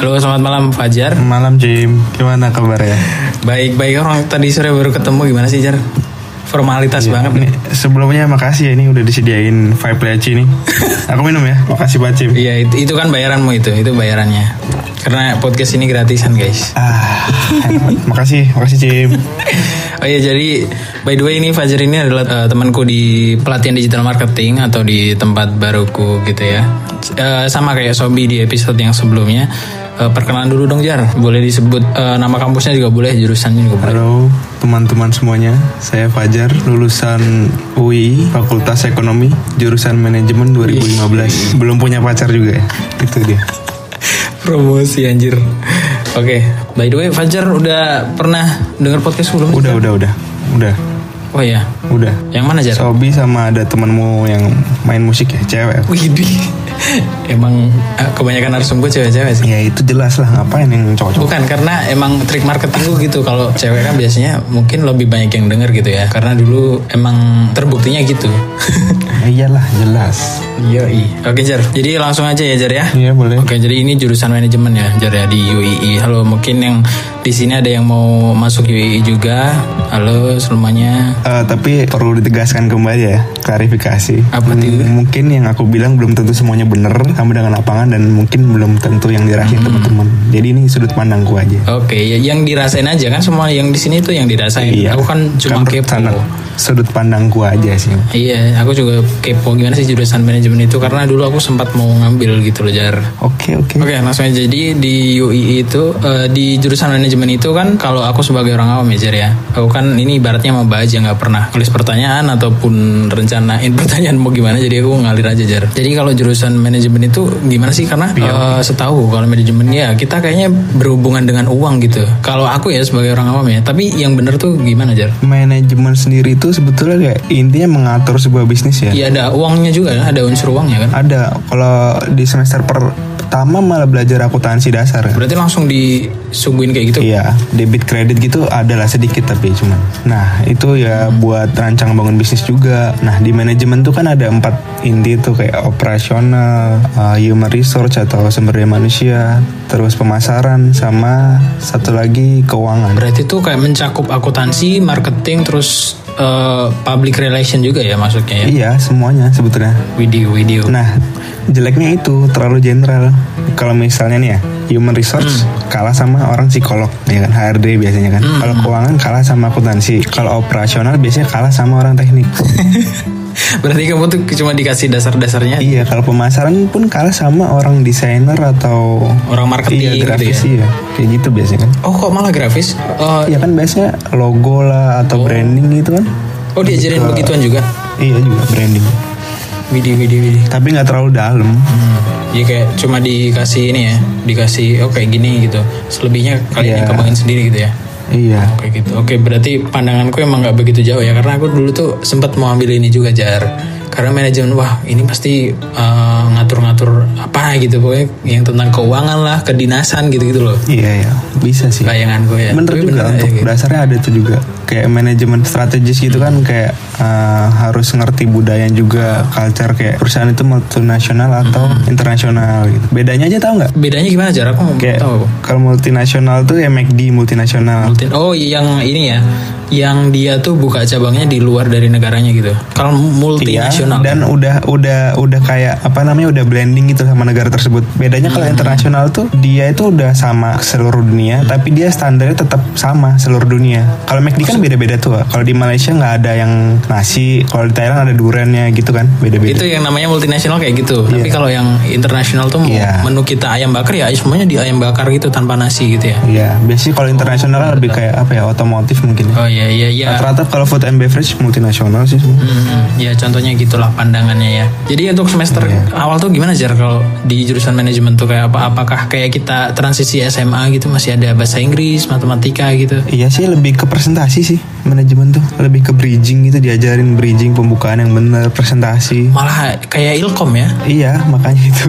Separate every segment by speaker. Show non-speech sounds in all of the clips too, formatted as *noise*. Speaker 1: Halo, selamat malam Fajar.
Speaker 2: Malam Jim, gimana kabarnya?
Speaker 1: Baik-baik orang tadi sore baru ketemu gimana sih Jar? Formalitas banget nih.
Speaker 2: Sebelumnya makasih ya ini udah disediain Five Leci nih. Aku minum ya, makasih Pak Jim.
Speaker 1: Iya itu, itu kan bayaranmu itu, itu bayarannya. Karena podcast ini gratisan guys.
Speaker 2: Ah, enak. makasih, makasih Jim.
Speaker 1: Oh iya jadi by the way ini Fajar ini adalah eh, temanku di pelatihan digital marketing atau di tempat baruku gitu ya. Eh, sama kayak Sobi di episode yang sebelumnya. Eh, perkenalan dulu dong Jar, boleh disebut eh, nama kampusnya juga boleh, jurusannya juga boleh.
Speaker 2: Halo teman-teman semuanya, saya Fajar, lulusan UI, Fakultas Ekonomi, jurusan Manajemen 2015. Belum punya pacar juga ya, itu dia.
Speaker 1: Promosi anjir. Oke, by the way Fajar udah pernah dengar podcast sebelumnya?
Speaker 2: Udah, udah, udah, udah,
Speaker 1: Oh iya,
Speaker 2: udah.
Speaker 1: yang mana Jar?
Speaker 2: Sobi sama ada temenmu yang main musik ya, cewek.
Speaker 1: Widih. Emang eh, kebanyakan harus gue cewek-cewek sih.
Speaker 2: Ya itu jelas lah, ngapain yang cowok-cowok.
Speaker 1: Bukan karena emang trik marketing gue gitu kalau cewek kan biasanya mungkin lebih banyak yang denger gitu ya. Karena dulu emang terbuktinya gitu. *laughs*
Speaker 2: Ya iyalah jelas.
Speaker 1: Yoi. Oke Jar. Jadi langsung aja ya Jar ya.
Speaker 2: Iya boleh.
Speaker 1: Oke, jadi ini jurusan manajemen ya, Jar ya di UII. Halo, mungkin yang di sini ada yang mau masuk UII juga. Halo semuanya.
Speaker 2: Eh, tapi perlu ditegaskan kembali ya klarifikasi.
Speaker 1: Apa
Speaker 2: M- Mungkin yang aku bilang belum tentu semuanya benar sama dengan lapangan dan mungkin belum tentu yang dirasain
Speaker 1: Hmm.
Speaker 2: teman-teman. Jadi ini sudut pandangku aja.
Speaker 1: Oke, ya- yang dirasain aja kan semua yang di sini tuh yang dirasain. Aku kan cuma
Speaker 2: menurut
Speaker 1: kepo.
Speaker 2: sana- Iya. sudut pandangku aja sih.
Speaker 1: Iya, aku juga kepo gimana sih jurusan manajemen itu karena dulu aku sempat mau ngambil gitu loh jar.
Speaker 2: Oke oke.
Speaker 1: Oke, langsung aja. Jadi di UI itu eh, di jurusan manajemen itu kan kalau aku sebagai orang awam ya Jar ya. Aku kan ini ibaratnya mau aja nggak pernah tulis pertanyaan ataupun rencanain *laughs* pertanyaan mau gimana. Jadi aku ngalir aja Jar. Jadi kalau jurusan manajemen itu gimana sih? Karena eh, setahu kalau manajemen ya kita kayaknya berhubungan dengan uang gitu. Kalau aku ya sebagai orang awam ya. Tapi yang bener tuh gimana Jar?
Speaker 2: Manajemen sendiri itu sebetulnya kayak intinya mengatur sebuah bisnis ya.
Speaker 1: Iya ada uangnya juga, ada unsur uangnya kan?
Speaker 2: Ada kalau di semester per- pertama malah belajar akuntansi dasar. kan?
Speaker 1: Berarti langsung disuguhin kayak gitu.
Speaker 2: *laughs* Iya, debit kredit gitu adalah sedikit tapi cuman. Nah, itu ya buat rancang bangun bisnis juga. Nah, di manajemen tuh kan ada empat inti tuh kayak operasional, uh, human resource atau sumber daya manusia, terus pemasaran sama satu lagi keuangan.
Speaker 1: Berarti tuh kayak mencakup akuntansi, marketing, terus eh, public relation juga ya masuknya ya.
Speaker 2: Iya, semuanya sebetulnya.
Speaker 1: Video, video.
Speaker 2: *laughs* Nah, jeleknya itu terlalu general. Kalau misalnya nih ya, human resource kalah sama orang psikolog, ya kan HRD biasanya kan. Kalau keuangan kalah sama akuntansi. Kalau operasional biasanya kalah sama orang teknik.
Speaker 1: Berarti kamu tuh cuma dikasih dasar-dasarnya
Speaker 2: iya, kalau pemasaran pun kalah sama orang desainer atau
Speaker 1: orang marketing
Speaker 2: iya,
Speaker 1: gitu
Speaker 2: grafis
Speaker 1: ya.
Speaker 2: iya. Kayak gitu biasanya kan.
Speaker 1: Oh kok malah grafis? Eh,
Speaker 2: Iya kan biasanya logo lah atau branding gitu kan.
Speaker 1: oh diajarin begituan juga.
Speaker 2: Iya juga branding.
Speaker 1: Video, video, video.
Speaker 2: Tapi nggak terlalu dalam.
Speaker 1: Hmm. Jadi kayak cuma dikasih ini ya, dikasih oh kayak gini gitu. Selebihnya kalian yang
Speaker 2: Iya.
Speaker 1: kembangin sendiri gitu ya.
Speaker 2: Iya.
Speaker 1: Oke gitu. Oke berarti pandanganku emang nggak begitu jauh ya karena aku dulu tuh sempat mau ambil ini juga jar. Karena manajemen wah ini pasti eh, ngatur-ngatur apa gitu pokoknya yang tentang keuangan lah, kedinasan gitu-gitu loh.
Speaker 2: Iya ya, bisa sih.
Speaker 1: Bayanganku ya.
Speaker 2: bener
Speaker 1: Tapi
Speaker 2: juga
Speaker 1: aja
Speaker 2: untuk
Speaker 1: gitu. Hmm.
Speaker 2: dasarnya ada itu juga kayak manajemen strategis gitu kan kayak eh, harus ngerti budaya juga culture kayak perusahaan itu multinasional atau
Speaker 1: Hmm.
Speaker 2: internasional gitu bedanya aja tahu nggak
Speaker 1: Bedanya gimana jar? Aku mau
Speaker 2: kayak
Speaker 1: tahu.
Speaker 2: kalau multinasional tuh ya McD multinasional
Speaker 1: Rutin. Oh yang ini ya, yang dia tuh buka cabangnya di luar dari negaranya gitu. Kalau
Speaker 2: Iya,
Speaker 1: multinasional.
Speaker 2: dan udah udah udah kayak apa namanya udah blending gitu sama negara tersebut. Bedanya kalau
Speaker 1: Hmm.
Speaker 2: internasional tuh dia itu udah sama seluruh dunia, tapi dia standarnya tetap sama seluruh dunia. Kalau McD kan beda-beda tuh. Kalau di Malaysia nggak ada yang nasi, kalau di Thailand ada duriannya gitu kan, beda-beda.
Speaker 1: itu yang namanya multinasional kayak gitu. Tapi kalau yang internasional tuh mau
Speaker 2: Iya.
Speaker 1: menu kita ayam bakar ya semuanya di ayam bakar gitu tanpa nasi gitu ya.
Speaker 2: Iya, biasanya kalau internasional lebih kayak apa ya otomotif mungkin. ya.
Speaker 1: Oh iya iya iya.
Speaker 2: Rata-rata kalau food and beverage multinasional sih. semua.
Speaker 1: Hmm, ya contohnya gitulah pandangannya ya. Jadi untuk semester
Speaker 2: Iya.
Speaker 1: awal tuh gimana Jar kalau di jurusan manajemen tuh kayak apa? Apakah kayak kita transisi SMA gitu masih ada bahasa Inggris, matematika gitu?
Speaker 2: Iya sih lebih ke presentasi sih manajemen tuh lebih ke bridging gitu diajarin bridging pembukaan yang bener presentasi
Speaker 1: Malah kayak ilkom ya. *laughs*
Speaker 2: Iya, makanya itu.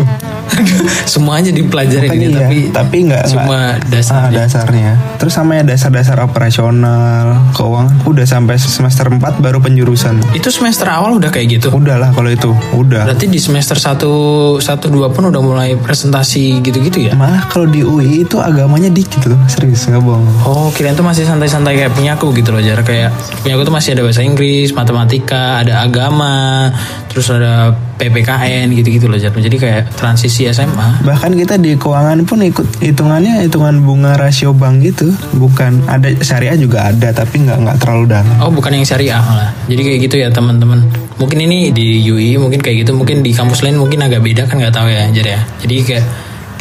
Speaker 1: Semuanya dipelajarin
Speaker 2: Makanya
Speaker 1: ini
Speaker 2: iya,
Speaker 1: tapi
Speaker 2: tapi nggak
Speaker 1: cuma
Speaker 2: nggak-
Speaker 1: dasar.
Speaker 2: Ah, dasarnya. Terus sama ya dasar-dasar operasional, keuangan udah sampai semester 4 baru penjurusan
Speaker 1: Itu semester awal udah kayak gitu.
Speaker 2: udahlah kalau itu udah
Speaker 1: Berarti di semester 1 1 2 pun udah mulai presentasi gitu-gitu ya.
Speaker 2: malah kalau di UI itu agamanya dikit loh serius nggak bohong
Speaker 1: Oh, kirain tuh masih santai-santai kayak punya aku gitu loh, Jar. Kayak punya aku tuh masih ada bahasa Inggris, matematika, ada agama, terus ada PPKN gitu-gitu loh, Jar. Jadi kayak transisi SMA.
Speaker 2: bahkan kita di keuangan pun ikut hitungannya hitungan bunga rasio bank gitu bukan ada syariah juga ada tapi nggak nggak terlalu dalam
Speaker 1: Oh, bukan yang syariah malah. Jadi kayak gitu ya, teman-teman. Mungkin ini di UI mungkin kayak gitu, mungkin di kampus lain mungkin agak beda kan nggak tahu ya, Jar ya. Jadi kayak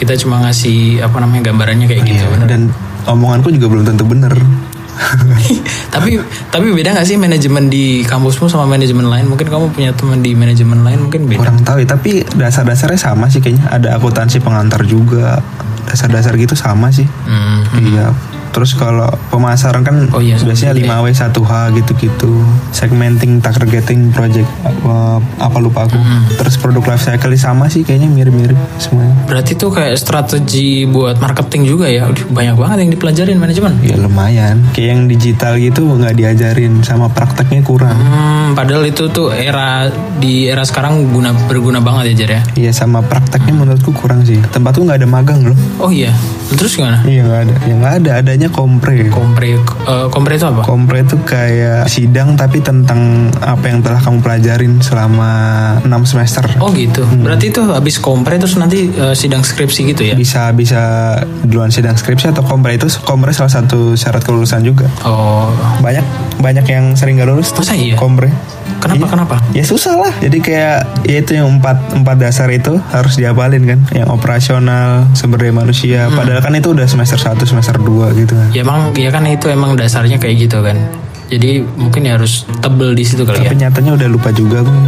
Speaker 1: kita cuma ngasih apa namanya gambarannya
Speaker 2: Oh,
Speaker 1: kayak gitu. bener.
Speaker 2: dan omonganku juga belum tentu *laughs* bener
Speaker 1: *laughs* tapi tapi beda nggak sih manajemen di kampusmu sama manajemen lain? Mungkin kamu punya teman di manajemen lain mungkin beda.
Speaker 2: kurang tahu ya tapi dasar-dasarnya sama sih kayaknya ada akuntansi pengantar juga dasar-dasar gitu sama sih
Speaker 1: Hmm.
Speaker 2: iya terus kalau pemasaran kan
Speaker 1: Oh iya, sama
Speaker 2: biasanya
Speaker 1: juga
Speaker 2: 5W 1H gitu-gitu segmenting targeting project apa, apa lupa aku
Speaker 1: Hmm.
Speaker 2: terus produk life cycle sama sih kayaknya mirip-mirip semuanya
Speaker 1: Berarti tuh kayak strategi buat marketing juga ya. Aduh, banyak banget yang dipelajarin manajemen.
Speaker 2: Ya lumayan. Kayak yang digital gitu nggak diajarin sama prakteknya kurang.
Speaker 1: Hmm, padahal itu tuh era di era sekarang guna berguna banget ya Jar ya.
Speaker 2: Iya sama prakteknya menurutku kurang sih. Tempatku nggak ada magang loh.
Speaker 1: Oh iya. Terus gimana?
Speaker 2: Iya nggak ada. Yang nggak ada adanya kompre.
Speaker 1: Kompre eh, kompre itu apa?
Speaker 2: Kompre itu kayak sidang tapi tentang apa yang telah kamu pelajarin selama 6 semester.
Speaker 1: Oh gitu. Berarti itu habis kompre terus nanti eh, sidang skripsi gitu ya.
Speaker 2: Bisa bisa duluan sidang skripsi atau kompre itu kompre salah satu syarat kelulusan juga.
Speaker 1: Oh.
Speaker 2: Banyak banyak yang sering gak lulus tuh
Speaker 1: Masa iya?
Speaker 2: kompre.
Speaker 1: Kenapa kenapa?
Speaker 2: ya susah lah jadi kayak ya itu yang empat empat dasar itu harus diapalin kan yang operasional sumber daya manusia
Speaker 1: Hmm.
Speaker 2: padahal kan itu udah semester 1 semester 2 gitu kan
Speaker 1: Ya emang ya kan itu emang dasarnya kayak gitu kan. Jadi mungkin ya harus tebel di situ kali ya. *laughs*
Speaker 2: tapi nyatanya udah lupa juga *laughs* gue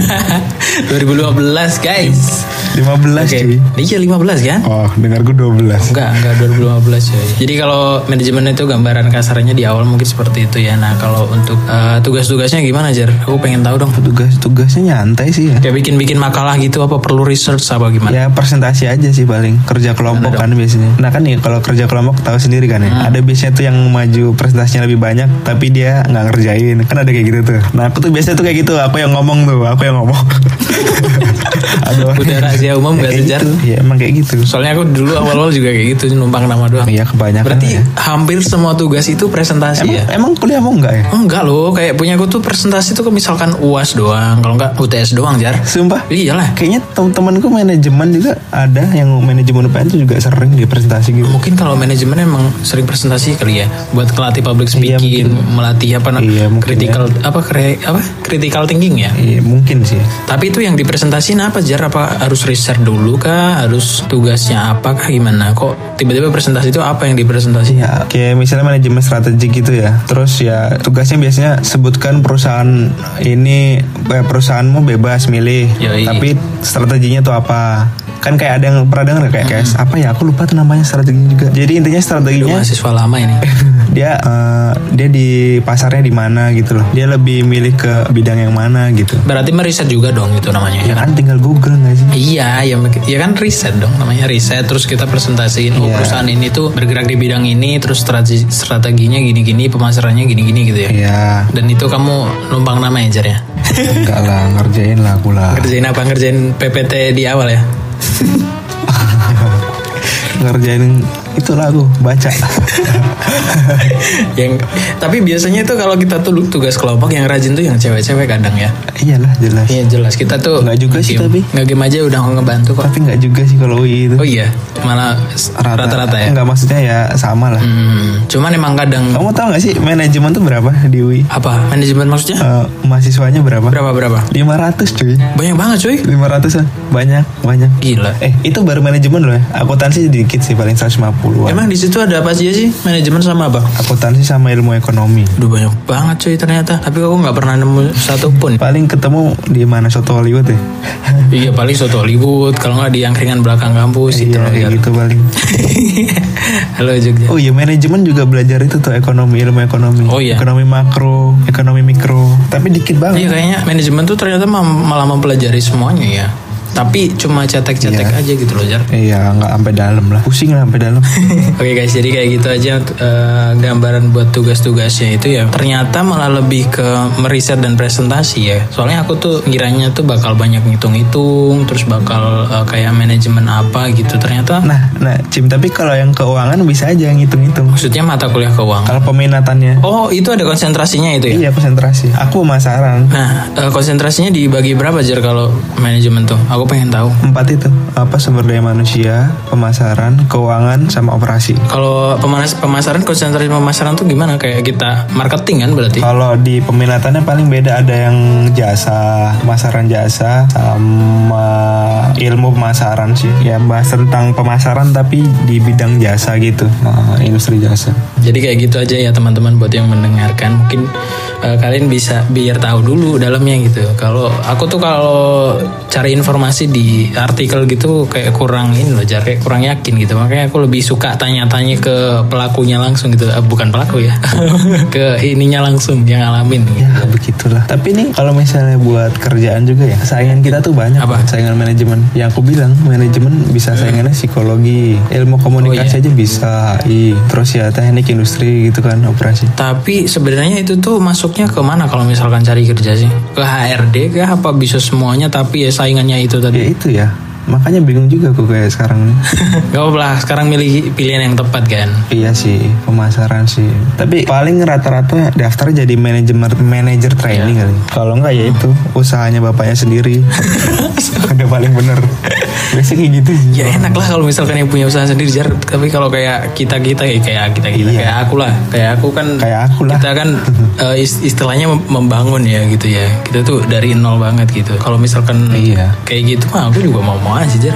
Speaker 1: 2012 guys.
Speaker 2: 15 cuy
Speaker 1: Oke. Iya 15 kan?
Speaker 2: oh dengar gue 12
Speaker 1: Enggak, enggak 2015 ya. Jadi kalau manajemen itu gambaran kasarnya di awal mungkin seperti itu ya. Nah, kalau untuk eh, tugas-tugasnya gimana, Jar? Aku pengen tahu dong.
Speaker 2: tugas tugasnya nyantai sih ya
Speaker 1: Kayak bikin-bikin makalah gitu apa perlu research apa gimana?
Speaker 2: Ya presentasi aja sih paling kerja kelompok kan biasanya. Nah kan ya kalau kerja kelompok tahu sendiri kan ya.
Speaker 1: Hmm.
Speaker 2: Ada biasanya tuh yang maju presentasinya lebih banyak tapi dia nggak ngerjain. Kan ada kayak gitu tuh. Nah aku tuh biasanya tuh kayak gitu. Aku yang ngomong tuh. Aku yang
Speaker 1: *laughs*
Speaker 2: ngomong. Ada orang-
Speaker 1: Udah rahasia umum
Speaker 2: Ya,
Speaker 1: nggak
Speaker 2: kayak
Speaker 1: sejar?
Speaker 2: gitu. Ya emang kayak gitu.
Speaker 1: Soalnya aku dulu awal-awal juga kayak gitu numpang nama doang.
Speaker 2: Iya kebanyakan.
Speaker 1: Berarti
Speaker 2: ya.
Speaker 1: hampir semua tugas itu presentasi
Speaker 2: emang,
Speaker 1: ya?
Speaker 2: emang kuliah mau nggak ya?
Speaker 1: Enggak loh, kayak punya aku tuh presentasi tuh misalkan UAS doang, kalau enggak UTS doang, Jar.
Speaker 2: Sumpah.
Speaker 1: Iyalah.
Speaker 2: Kayaknya teman-temanku manajemen juga ada yang manajemen UPN tuh juga sering di presentasi gitu.
Speaker 1: Mungkin kalau manajemen emang sering presentasi kali ya buat kelatih public speaking, melatih apa namanya
Speaker 2: Iya, mungkin
Speaker 1: critical apa kre, apa critical thinking ya.
Speaker 2: Iya mungkin sih.
Speaker 1: Tapi itu yang dipresentasiin apa jar apa harus riset dulu kah? Harus tugasnya apa kah gimana? Kok tiba-tiba presentasi itu apa yang dipresentasinya?
Speaker 2: Ya, kayak misalnya manajemen strategi gitu ya. Terus ya tugasnya biasanya sebutkan perusahaan ini eh, perusahaanmu bebas milih.
Speaker 1: Yoi.
Speaker 2: Tapi strateginya tuh apa? Kan kayak ada yang pernah denger nggak kayak kayak apa ya? Aku lupa tuh namanya strateginya juga. Jadi intinya strateginya
Speaker 1: Mahasiswa lama ini.
Speaker 2: dia eh, dia di pasarnya di mana gitu loh. Dia lebih milih ke bidang yang mana gitu.
Speaker 1: Berarti meriset juga dong itu namanya.
Speaker 2: Ya kan tinggal Google nggak sih?
Speaker 1: Iya, ya, mak- ya kan riset dong namanya riset. Terus kita presentasiin oh,
Speaker 2: Iya.
Speaker 1: perusahaan ini tuh bergerak di bidang ini, terus strategi, strateginya gini-gini, pemasarannya gini-gini gitu ya.
Speaker 2: Iya,
Speaker 1: Dan itu kamu numpang nama ya Jar ya?
Speaker 2: enggak lah ngerjain lah aku lah.
Speaker 1: Ngerjain apa? Ngerjain PPT di awal *laughs* ya?
Speaker 2: Ngerjain itulah aku *laughs* baca.
Speaker 1: yang Tapi biasanya itu kalau kita tuh tugas kelompok yang rajin tuh yang cewek-cewek kadang ya
Speaker 2: Iyalah jelas.
Speaker 1: Iya jelas, kita tuh
Speaker 2: Nggak juga sih, tapi.
Speaker 1: Nggak game aja udah ngebantu kok
Speaker 2: tapi nggak juga sih kalau UI itu
Speaker 1: Oh iya, malah s- rata-rata ya
Speaker 2: nggak maksudnya ya sama lah
Speaker 1: Hmm, Cuman emang kadang
Speaker 2: kamu tahu nggak sih manajemen tuh berapa di UI
Speaker 1: Apa? Manajemen maksudnya?
Speaker 2: Eh, mahasiswanya berapa
Speaker 1: Berapa-berapa?
Speaker 2: 500 cuy
Speaker 1: Banyak banget cuy
Speaker 2: 500 an banyak banyak
Speaker 1: Gila
Speaker 2: eh itu baru manajemen loh ya akuntansi sedikit sih paling 150 an
Speaker 1: Emang di situ ada apa aja sih? Manajemen sama apa?
Speaker 2: akuntansi sama ilmu ekonomi
Speaker 1: Udah banyak banget cuy ternyata Tapi aku nggak pernah nemu satupun
Speaker 2: paling ketemu di mana soto Hollywood
Speaker 1: *laughs*
Speaker 2: ya
Speaker 1: Iya paling soto Hollywood Kalau nggak di angkringan belakang kampus gitu *laughs*
Speaker 2: iya
Speaker 1: loh,
Speaker 2: kayak
Speaker 1: Jar.
Speaker 2: gitu paling
Speaker 1: Halo Jogja
Speaker 2: oh iya manajemen juga belajar itu tuh ekonomi ilmu ekonomi
Speaker 1: Oh, iya.
Speaker 2: ekonomi makro ekonomi mikro tapi dikit
Speaker 1: Iya
Speaker 2: banget
Speaker 1: kayaknya manajemen tuh ternyata mem- malah mempelajari semuanya ya. tapi cuma cetek-cetek
Speaker 2: Iya.
Speaker 1: aja gitu loh Jar. *laughs*
Speaker 2: Iya nggak sampai dalam lah. Pusing lah sampai dalam.
Speaker 1: Oke guys, jadi kayak gitu aja eh, gambaran buat tugas-tugasnya itu ya. Ternyata malah lebih ke meriset dan presentasi ya. Soalnya aku tuh kiranya tuh bakal banyak ngitung-ngitung, terus bakal eh, kayak manajemen apa gitu. Ternyata
Speaker 2: Nah, nah, Cim, tapi kalau yang keuangan bisa aja ngitung-ngitung.
Speaker 1: maksudnya mata kuliah keuangan.
Speaker 2: Kalau peminatannya,
Speaker 1: Oh, itu ada konsentrasinya itu ya.
Speaker 2: iya konsentrasi. Aku pemasaran
Speaker 1: Nah, eh, konsentrasinya dibagi berapa Jar kalau manajemen tuh? Aku pengen tahu.
Speaker 2: empat itu apa sumber daya manusia, pemasaran, keuangan, sama operasi.
Speaker 1: Kalau pemanas- pemasaran konsentrasi pemasaran tuh gimana kayak kita marketing kan berarti?
Speaker 2: Kalau di peminatannya paling beda ada yang jasa, pemasaran jasa sama ilmu pemasaran sih. Ya bahas tentang pemasaran tapi di bidang jasa gitu, Nah, industri jasa.
Speaker 1: Jadi kayak gitu aja ya teman-teman buat yang mendengarkan mungkin eh, kalian bisa biar tahu dulu dalamnya gitu. Kalau aku tuh kalau cari informasi di artikel gitu kayak kurang ini loh, Jar, kayak kurang yakin gitu. Makanya aku lebih suka tanya-tanya ke pelakunya langsung gitu. Eh, bukan pelaku ya. *laughs* ke ininya langsung yang ngalamin gitu.
Speaker 2: Ya begitulah. Tapi nih kalau misalnya buat kerjaan juga ya, saingan kita tuh banyak.
Speaker 1: Apa? Hmm.
Speaker 2: Saingan manajemen. Yang aku bilang manajemen bisa saingannya psikologi, ilmu
Speaker 1: Oh, iya.
Speaker 2: komunikasi aja bisa, i. Terus ya teknik industri gitu kan operasi.
Speaker 1: Tapi sebenarnya itu tuh masuknya ke mana kalau misalkan cari kerja sih? Ke HRD kah apa bisa semuanya tapi ya saingannya itu
Speaker 2: Ya
Speaker 1: tadi.
Speaker 2: itu ya. Makanya bingung juga aku kayak sekarang nih.
Speaker 1: *laughs* Gak apa lah, sekarang milih pilihan yang tepat kan.
Speaker 2: Iya sih, pemasaran sih. Tapi paling rata-rata daftar jadi manajemen manajer training
Speaker 1: Iya.
Speaker 2: kali. Kalau enggak ya itu usahanya bapaknya
Speaker 1: *laughs*
Speaker 2: sendiri. Udah paling bener. Biasanya kayak gitu sih.
Speaker 1: Ya enak lah kalau misalkan yang punya usaha sendiri jar. Tapi kalau kayak kita kita kayak kita kita
Speaker 2: Iya.
Speaker 1: kayak aku lah, kayak aku kan
Speaker 2: Kayak aku lah. *laughs*
Speaker 1: kita kan eh, is- istilahnya mem- membangun ya gitu ya. Kita tuh dari nol banget gitu. Kalau misalkan
Speaker 2: Iya.
Speaker 1: kayak gitu mah aku juga mau mau aja
Speaker 2: *laughs*
Speaker 1: jar.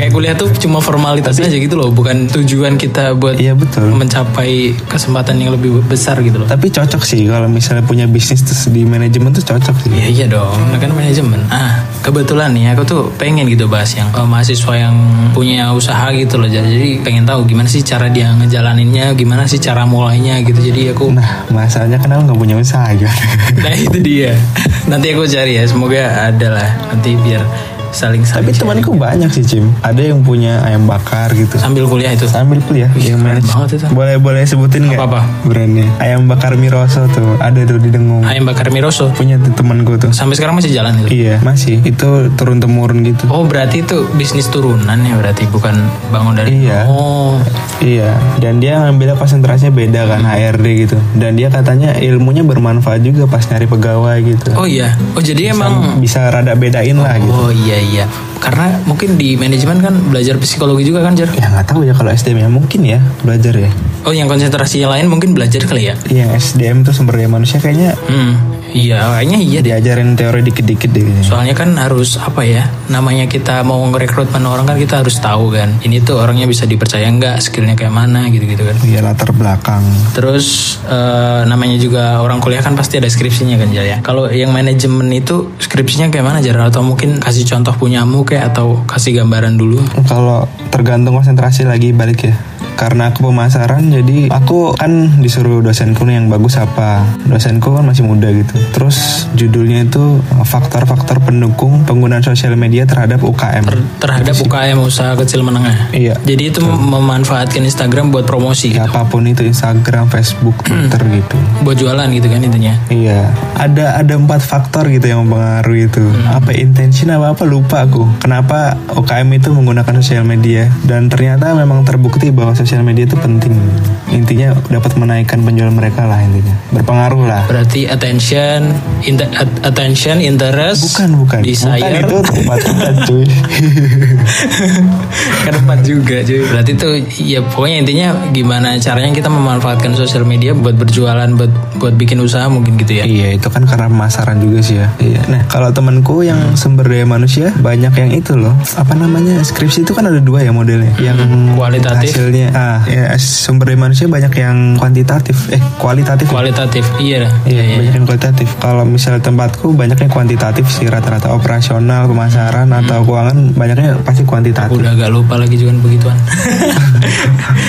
Speaker 1: kayak kuliah tuh cuma formalitas aja gitu loh, bukan tujuan kita buat
Speaker 2: Iya betul.
Speaker 1: Hmm? mencapai kesempatan yang lebih besar gitu loh.
Speaker 2: Tapi cocok sih kalau misalnya punya bisnis terus di manajemen tuh cocok sih.
Speaker 1: Iya iya dong,
Speaker 2: Hmm.
Speaker 1: nah, kan manajemen. Ah kebetulan nih aku tuh pengen gitu bahas yang eh, mahasiswa yang punya usaha gitu loh. Jadi pengen tahu gimana sih cara dia ngejalaninnya, gimana sih cara mulainya gitu. Jadi aku
Speaker 2: Nah, masalahnya kan aku nggak punya usaha kan.
Speaker 1: *laughs* nah itu dia. Nanti aku cari ya, semoga ada lah. Nanti biar saling
Speaker 2: *laughs* Tapi
Speaker 1: saling
Speaker 2: temanku banyak sih, Cim. Ada yang punya ayam bakar gitu.
Speaker 1: sambil kuliah itu.
Speaker 2: Sambil kuliah yang
Speaker 1: keren
Speaker 2: manage.
Speaker 1: banget itu.
Speaker 2: Boleh boleh sebutin nggak?
Speaker 1: Apa-apa?
Speaker 2: Brandnya. Ayam bakar Miroso tuh. Ada tuh di Dengung.
Speaker 1: Ayam bakar Miroso.
Speaker 2: Punya tuh temanku tuh.
Speaker 1: Sampai sekarang masih jalan itu.
Speaker 2: Iya, masih. Itu turun temurun gitu.
Speaker 1: Oh berarti itu bisnis turunan ya berarti bukan bangun dari
Speaker 2: Iya.
Speaker 1: Oh
Speaker 2: Iya, dan dia ngambilnya konsentrasinya beda kan HRD gitu. Dan dia katanya ilmunya bermanfaat juga pas nyari pegawai gitu.
Speaker 1: oh iya. Oh jadi emang
Speaker 2: Bisa rada bedain lah gitu.
Speaker 1: Oh iya iya, karena mungkin di manajemen kan belajar psikologi juga kan Jar.
Speaker 2: Ya nggak tahu ya kalau SDM ya mungkin ya belajar ya.
Speaker 1: Oh yang konsentrasi lain mungkin belajar kali ya.
Speaker 2: Yang SDM tuh sumber daya manusia kayaknya
Speaker 1: Hmm, iya kayaknya iya deh.
Speaker 2: diajarin teori dikit-dikit deh. kayaknya.
Speaker 1: Soalnya kan harus apa ya, namanya kita mau ngerekrutmen orang kan kita harus tahu kan. Ini tuh orangnya bisa dipercaya nggak, skillnya kayak mana gitu-gitu kan.
Speaker 2: Iya latar belakang.
Speaker 1: Terus eh, namanya juga orang kuliah kan pasti ada skripsinya kan Jar ya. Kalau yang manajemen itu skripsinya kayak mana Jar? Atau mungkin kasih contoh punyamu kayak atau kasih gambaran dulu?
Speaker 2: Kalau tergantung konsentrasi lagi balik ya. Karena aku pemasaran jadi aku kan disuruh dosenku nih yang bagus apa. Dosenku kan masih muda gitu. Terus judulnya itu faktor-faktor pendukung penggunaan sosial media terhadap UKM.
Speaker 1: terhadap UKM usaha kecil menengah.
Speaker 2: Iya.
Speaker 1: Jadi itu mem- memanfaatkan Instagram buat promosi,
Speaker 2: Ya, apapun itu Instagram, Facebook, *clears throat* Twitter gitu.
Speaker 1: buat jualan gitu kan intinya.
Speaker 2: Iya, ada ada empat faktor gitu yang mempengaruhi itu. Apa intention apa apa lupa aku. Kenapa UKM itu menggunakan sosial media dan ternyata memang terbukti bahwa sosial media itu penting. Intinya dapat menaikkan penjualan mereka lah intinya. Berpengaruh lah.
Speaker 1: Berarti attention, inter- at- attention, interest,
Speaker 2: Bukan bukan. Bukan
Speaker 1: desire. *laughs*
Speaker 2: itu tempat tempat cuy.
Speaker 1: Kan empat juga cuy. Berarti itu ya pokoknya intinya gimana caranya kita memanfaatkan sosial media buat berjualan, buat buat bikin usaha mungkin gitu ya.
Speaker 2: iya itu kan karena pemasaran juga sih ya. Iya. Nah kalau temanku yang sumber daya manusia banyak yang itu loh. Apa namanya skripsi itu kan ada dua ya modelnya. Yang
Speaker 1: Kualitatif,
Speaker 2: hasilnya ah ya, sumber daya manusia banyak yang kuantitatif eh kualitatif
Speaker 1: kualitatif. Iya. dah.
Speaker 2: Iya, banyak yang kualitatif. Kalau misal tempatku banyaknya kuantitatif sih rata-rata operasional, pemasaran atau keuangan banyaknya pasti kuantitatif.
Speaker 1: Udah agak lupa lagi juga
Speaker 2: *laughs*
Speaker 1: begituan.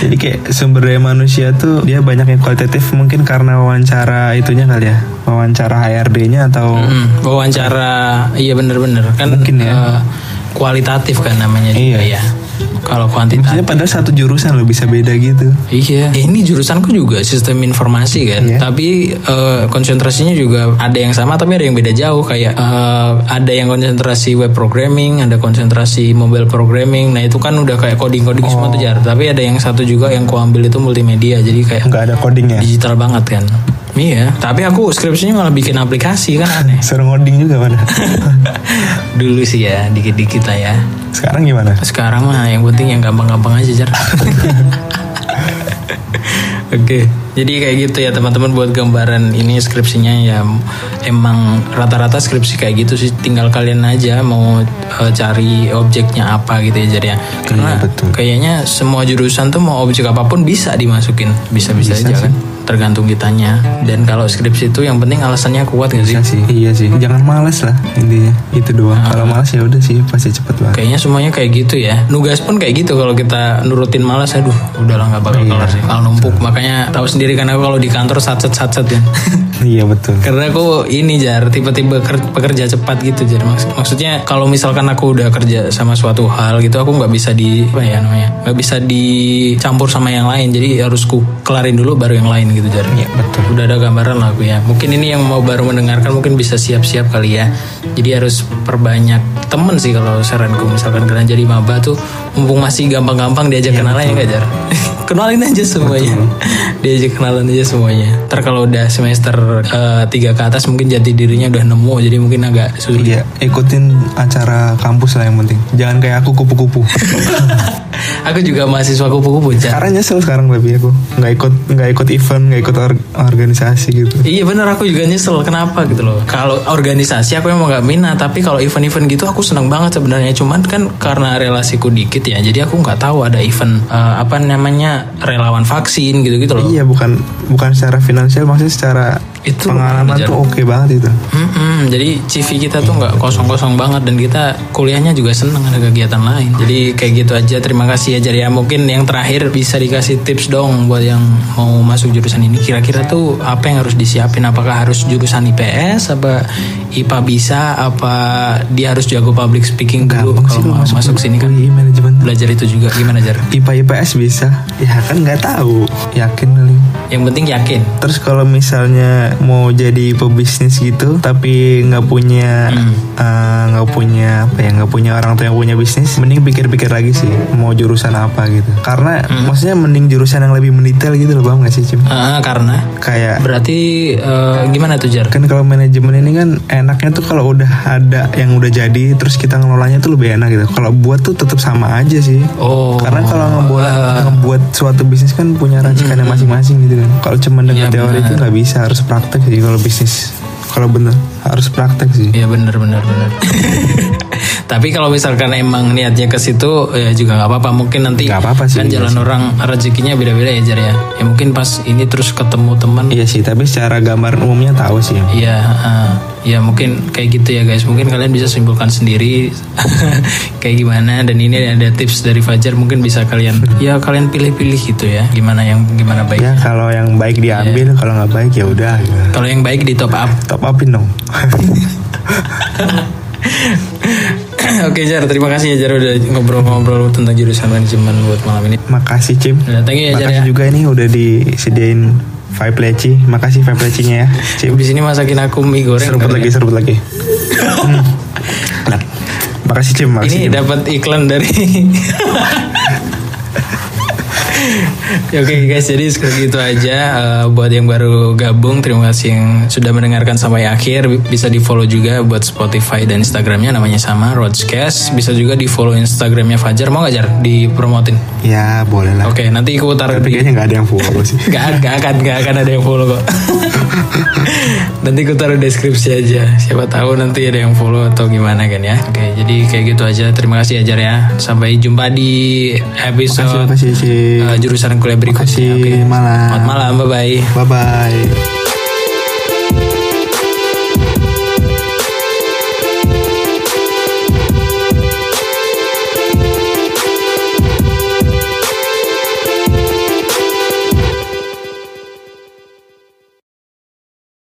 Speaker 2: Jadi kayak sumber daya manusia tuh dia banyak yang kualitatif mungkin karena wawancara itunya kali ya, wawancara HRD-nya atau
Speaker 1: Hmm, wawancara iya bener-bener kan
Speaker 2: Mungkin ya.
Speaker 1: eh, kualitatif kan namanya juga
Speaker 2: Iya.
Speaker 1: ya. Kalau
Speaker 2: Maksudnya
Speaker 1: kuantitatif
Speaker 2: padahal satu jurusan lo bisa beda gitu.
Speaker 1: Iya, Ya, ini jurusanku juga sistem informasi kan,
Speaker 2: Iya.
Speaker 1: tapi eh, konsentrasinya juga ada yang sama tapi ada yang beda jauh kayak eh, ada yang konsentrasi web programming, ada konsentrasi mobile programming. Nah itu kan udah kayak coding coding semua tuh jar. Tapi ada yang satu juga yang ku ambil itu multimedia, jadi kayak
Speaker 2: Nggak ada ya? codingnya.
Speaker 1: digital banget kan. Iya, tapi aku skripsinya malah bikin aplikasi kan
Speaker 2: *laughs*
Speaker 1: aneh.
Speaker 2: Suruh ngoding juga pada.
Speaker 1: Dulu sih ya, dikit-dikit lah ya.
Speaker 2: Sekarang gimana?
Speaker 1: Sekarang mah yang penting yang gampang-gampang aja, Jar. *laughs* Oke, jadi kayak gitu ya teman-teman buat gambaran ini skripsinya ya emang rata-rata skripsi kayak gitu sih tinggal kalian aja mau eh, cari objeknya apa gitu ya Jar ya. Karena
Speaker 2: betul.
Speaker 1: kayaknya semua jurusan tuh mau objek apapun bisa dimasukin, bisa-bisa aja kan tergantung kitanya. Dan kalau skripsi itu yang penting alasannya kuat gitu sih.
Speaker 2: Iya sih, iya sih. Jangan males lah intinya. Itu doang. Kalau males ya udah sih pasti cepet banget.
Speaker 1: Kayaknya semuanya kayak gitu ya. Nugas pun kayak gitu kalau kita nurutin malas aduh udahlah nggak bakal kelar sih. Kalau numpuk makanya tahu sendiri kan aku kalau di kantor satset satset ya.
Speaker 2: Iya betul.
Speaker 1: Karena aku ini jar tiba-tiba ker- pekerja cepat gitu jar Maks- maksudnya kalau misalkan aku udah kerja sama suatu hal gitu aku nggak bisa di apa ya namanya nggak bisa dicampur sama yang lain jadi harus ku kelarin dulu baru yang lain gitu jar. Iya
Speaker 2: betul.
Speaker 1: Udah ada gambaran lah aku ya. Mungkin ini yang mau baru mendengarkan mungkin bisa siap-siap kali ya. Jadi harus perbanyak temen sih kalau saranku misalkan kalian jadi maba tuh mumpung masih gampang-gampang diajak kenalan ya nggak jar. *laughs* kenalin aja semuanya. diajak kenalan aja semuanya. Ntar kalau udah semester 3 ke atas mungkin jati dirinya udah nemu jadi mungkin agak
Speaker 2: *laughs*
Speaker 1: sulit.
Speaker 2: Iya, ikutin acara kampus lah yang penting. Jangan kayak aku *laughs* kupu-kupu.
Speaker 1: aku juga mahasiswa kupu-kupu jar.
Speaker 2: Karena nyesel sekarang tapi aku nggak ikut nggak ikut event, nggak ikut or- organisasi gitu.
Speaker 1: Iya bener aku juga nyesel kenapa gitu loh. Kalau organisasi aku emang gak minat tapi kalau event-event gitu aku seneng banget sebenarnya. Cuman kan karena relasiku dikit ya jadi aku nggak tahu ada event eh, apa namanya relawan vaksin gitu-gitu loh.
Speaker 2: Iya, bukan bukan secara finansial, maksudnya secara
Speaker 1: Itu
Speaker 2: pengalaman
Speaker 1: lumayan
Speaker 2: tuh oke banget itu.
Speaker 1: Mm-mm, jadi CV kita tuh nggak kosong-kosong banget dan kita kuliahnya juga seneng ada kegiatan lain. Jadi kayak gitu aja. Terima kasih ya Jari. Ya mungkin yang terakhir bisa dikasih tips dong buat yang mau masuk jurusan ini. Kira-kira tuh apa yang harus disiapin? Apakah harus jurusan IPS? Apa IPA bisa? Apa dia harus jago public speaking dulu
Speaker 2: Gampang sih
Speaker 1: kalau
Speaker 2: lo
Speaker 1: mau masuk,
Speaker 2: masuk,
Speaker 1: sini kan?
Speaker 2: UI manajemen.
Speaker 1: Belajar itu juga gimana Jar?
Speaker 2: IPA IPS bisa. Ya kan nggak tahu. Yakin kali.
Speaker 1: Yang penting yakin.
Speaker 2: Terus kalau misalnya mau jadi pebisnis gitu, tapi nggak punya eh, nggak punya apa ya nggak punya orang tua yang punya bisnis, mending pikir-pikir lagi sih mau jurusan apa gitu. Karena maksudnya mending jurusan yang lebih mendetail gitu loh, paham nggak sih Cim?
Speaker 1: Ah, karena
Speaker 2: Kayak
Speaker 1: berarti eh, gimana tuh Jar?
Speaker 2: kan kalau manajemen ini kan enaknya tuh kalau udah ada yang udah jadi terus kita ngelolanya tuh lebih enak gitu kalau buat tuh tetap sama aja sih
Speaker 1: Oh, Ah.
Speaker 2: karena kalau ngebuat ngebuat suatu bisnis kan punya racikannya masing-masing gitu kan kalau cuma dengan
Speaker 1: Hmm. Iya,
Speaker 2: teori itu nggak bisa harus praktek sih kalau bisnis kalau bener harus praktek sih
Speaker 1: Iya benar benar
Speaker 2: *laughs*
Speaker 1: benar. Tapi kalau misalkan emang niatnya ke situ ya juga nggak apa-apa. Mungkin nanti
Speaker 2: Nggak apa-apa sih,
Speaker 1: kan
Speaker 2: iya
Speaker 1: jalan orang rezekinya beda-beda ya Jar ya. Ya mungkin pas ini terus ketemu teman
Speaker 2: iya sih tapi secara gambaran umumnya tahu sih ya
Speaker 1: Iya, eh, ya mungkin kayak gitu ya guys. Mungkin kalian bisa simpulkan sendiri *laughs* kayak gimana. Dan ini ada tips dari Fajar mungkin bisa kalian ya kalian pilih-pilih gitu ya. Gimana yang gimana baik.
Speaker 2: ya kalau yang baik diambil
Speaker 1: Iya.
Speaker 2: kalau nggak baik ya udah gitu.
Speaker 1: Kalau yang baik di top up.
Speaker 2: top upin dong *laughs*
Speaker 1: *laughs* Oke Jar, terima kasih ya Jar udah ngobrol-ngobrol tentang jurusan manajemen buat malam ini.
Speaker 2: makasih Cim
Speaker 1: Ya, thank you ya Jar ya.
Speaker 2: makasih juga ini udah disediain Vibe leci, makasih Vibe lecinya ya. Cim.
Speaker 1: Di sini masakin aku mie goreng.
Speaker 2: Seruput
Speaker 1: kali
Speaker 2: lagi,
Speaker 1: ya.
Speaker 2: seruput
Speaker 1: *laughs*
Speaker 2: lagi. Hmm. Enak. Makasih Cim, makasih.
Speaker 1: Ini
Speaker 2: Cim.
Speaker 1: dapat iklan dari. *laughs* Ya, Oke guys, jadi seperti itu aja Eh, buat yang baru gabung. Terima kasih yang sudah mendengarkan sampai akhir. Bisa di follow juga buat Spotify dan Instagramnya namanya sama Roadscast. Bisa juga di follow Instagramnya Fajar. Mau nggak Jar dipromotin?
Speaker 2: Ya boleh lah.
Speaker 1: Oke, nanti aku taruh
Speaker 2: Tapi
Speaker 1: di
Speaker 2: kayaknya nggak ada yang follow sih.
Speaker 1: Gak, gak akan gak akan ada yang follow kok. nanti ku taruh deskripsi aja. Siapa tahu nanti ada yang follow atau gimana kan ya. Oke, jadi kayak gitu aja. Terima kasih Ajar ya. Sampai jumpa di
Speaker 2: Makasih,
Speaker 1: episode
Speaker 2: makasih Cim.
Speaker 1: eh, jurusan kuliah berikutnya.
Speaker 2: Makasih, malam.
Speaker 1: Selamat malam. Bye bye.
Speaker 2: Bye bye.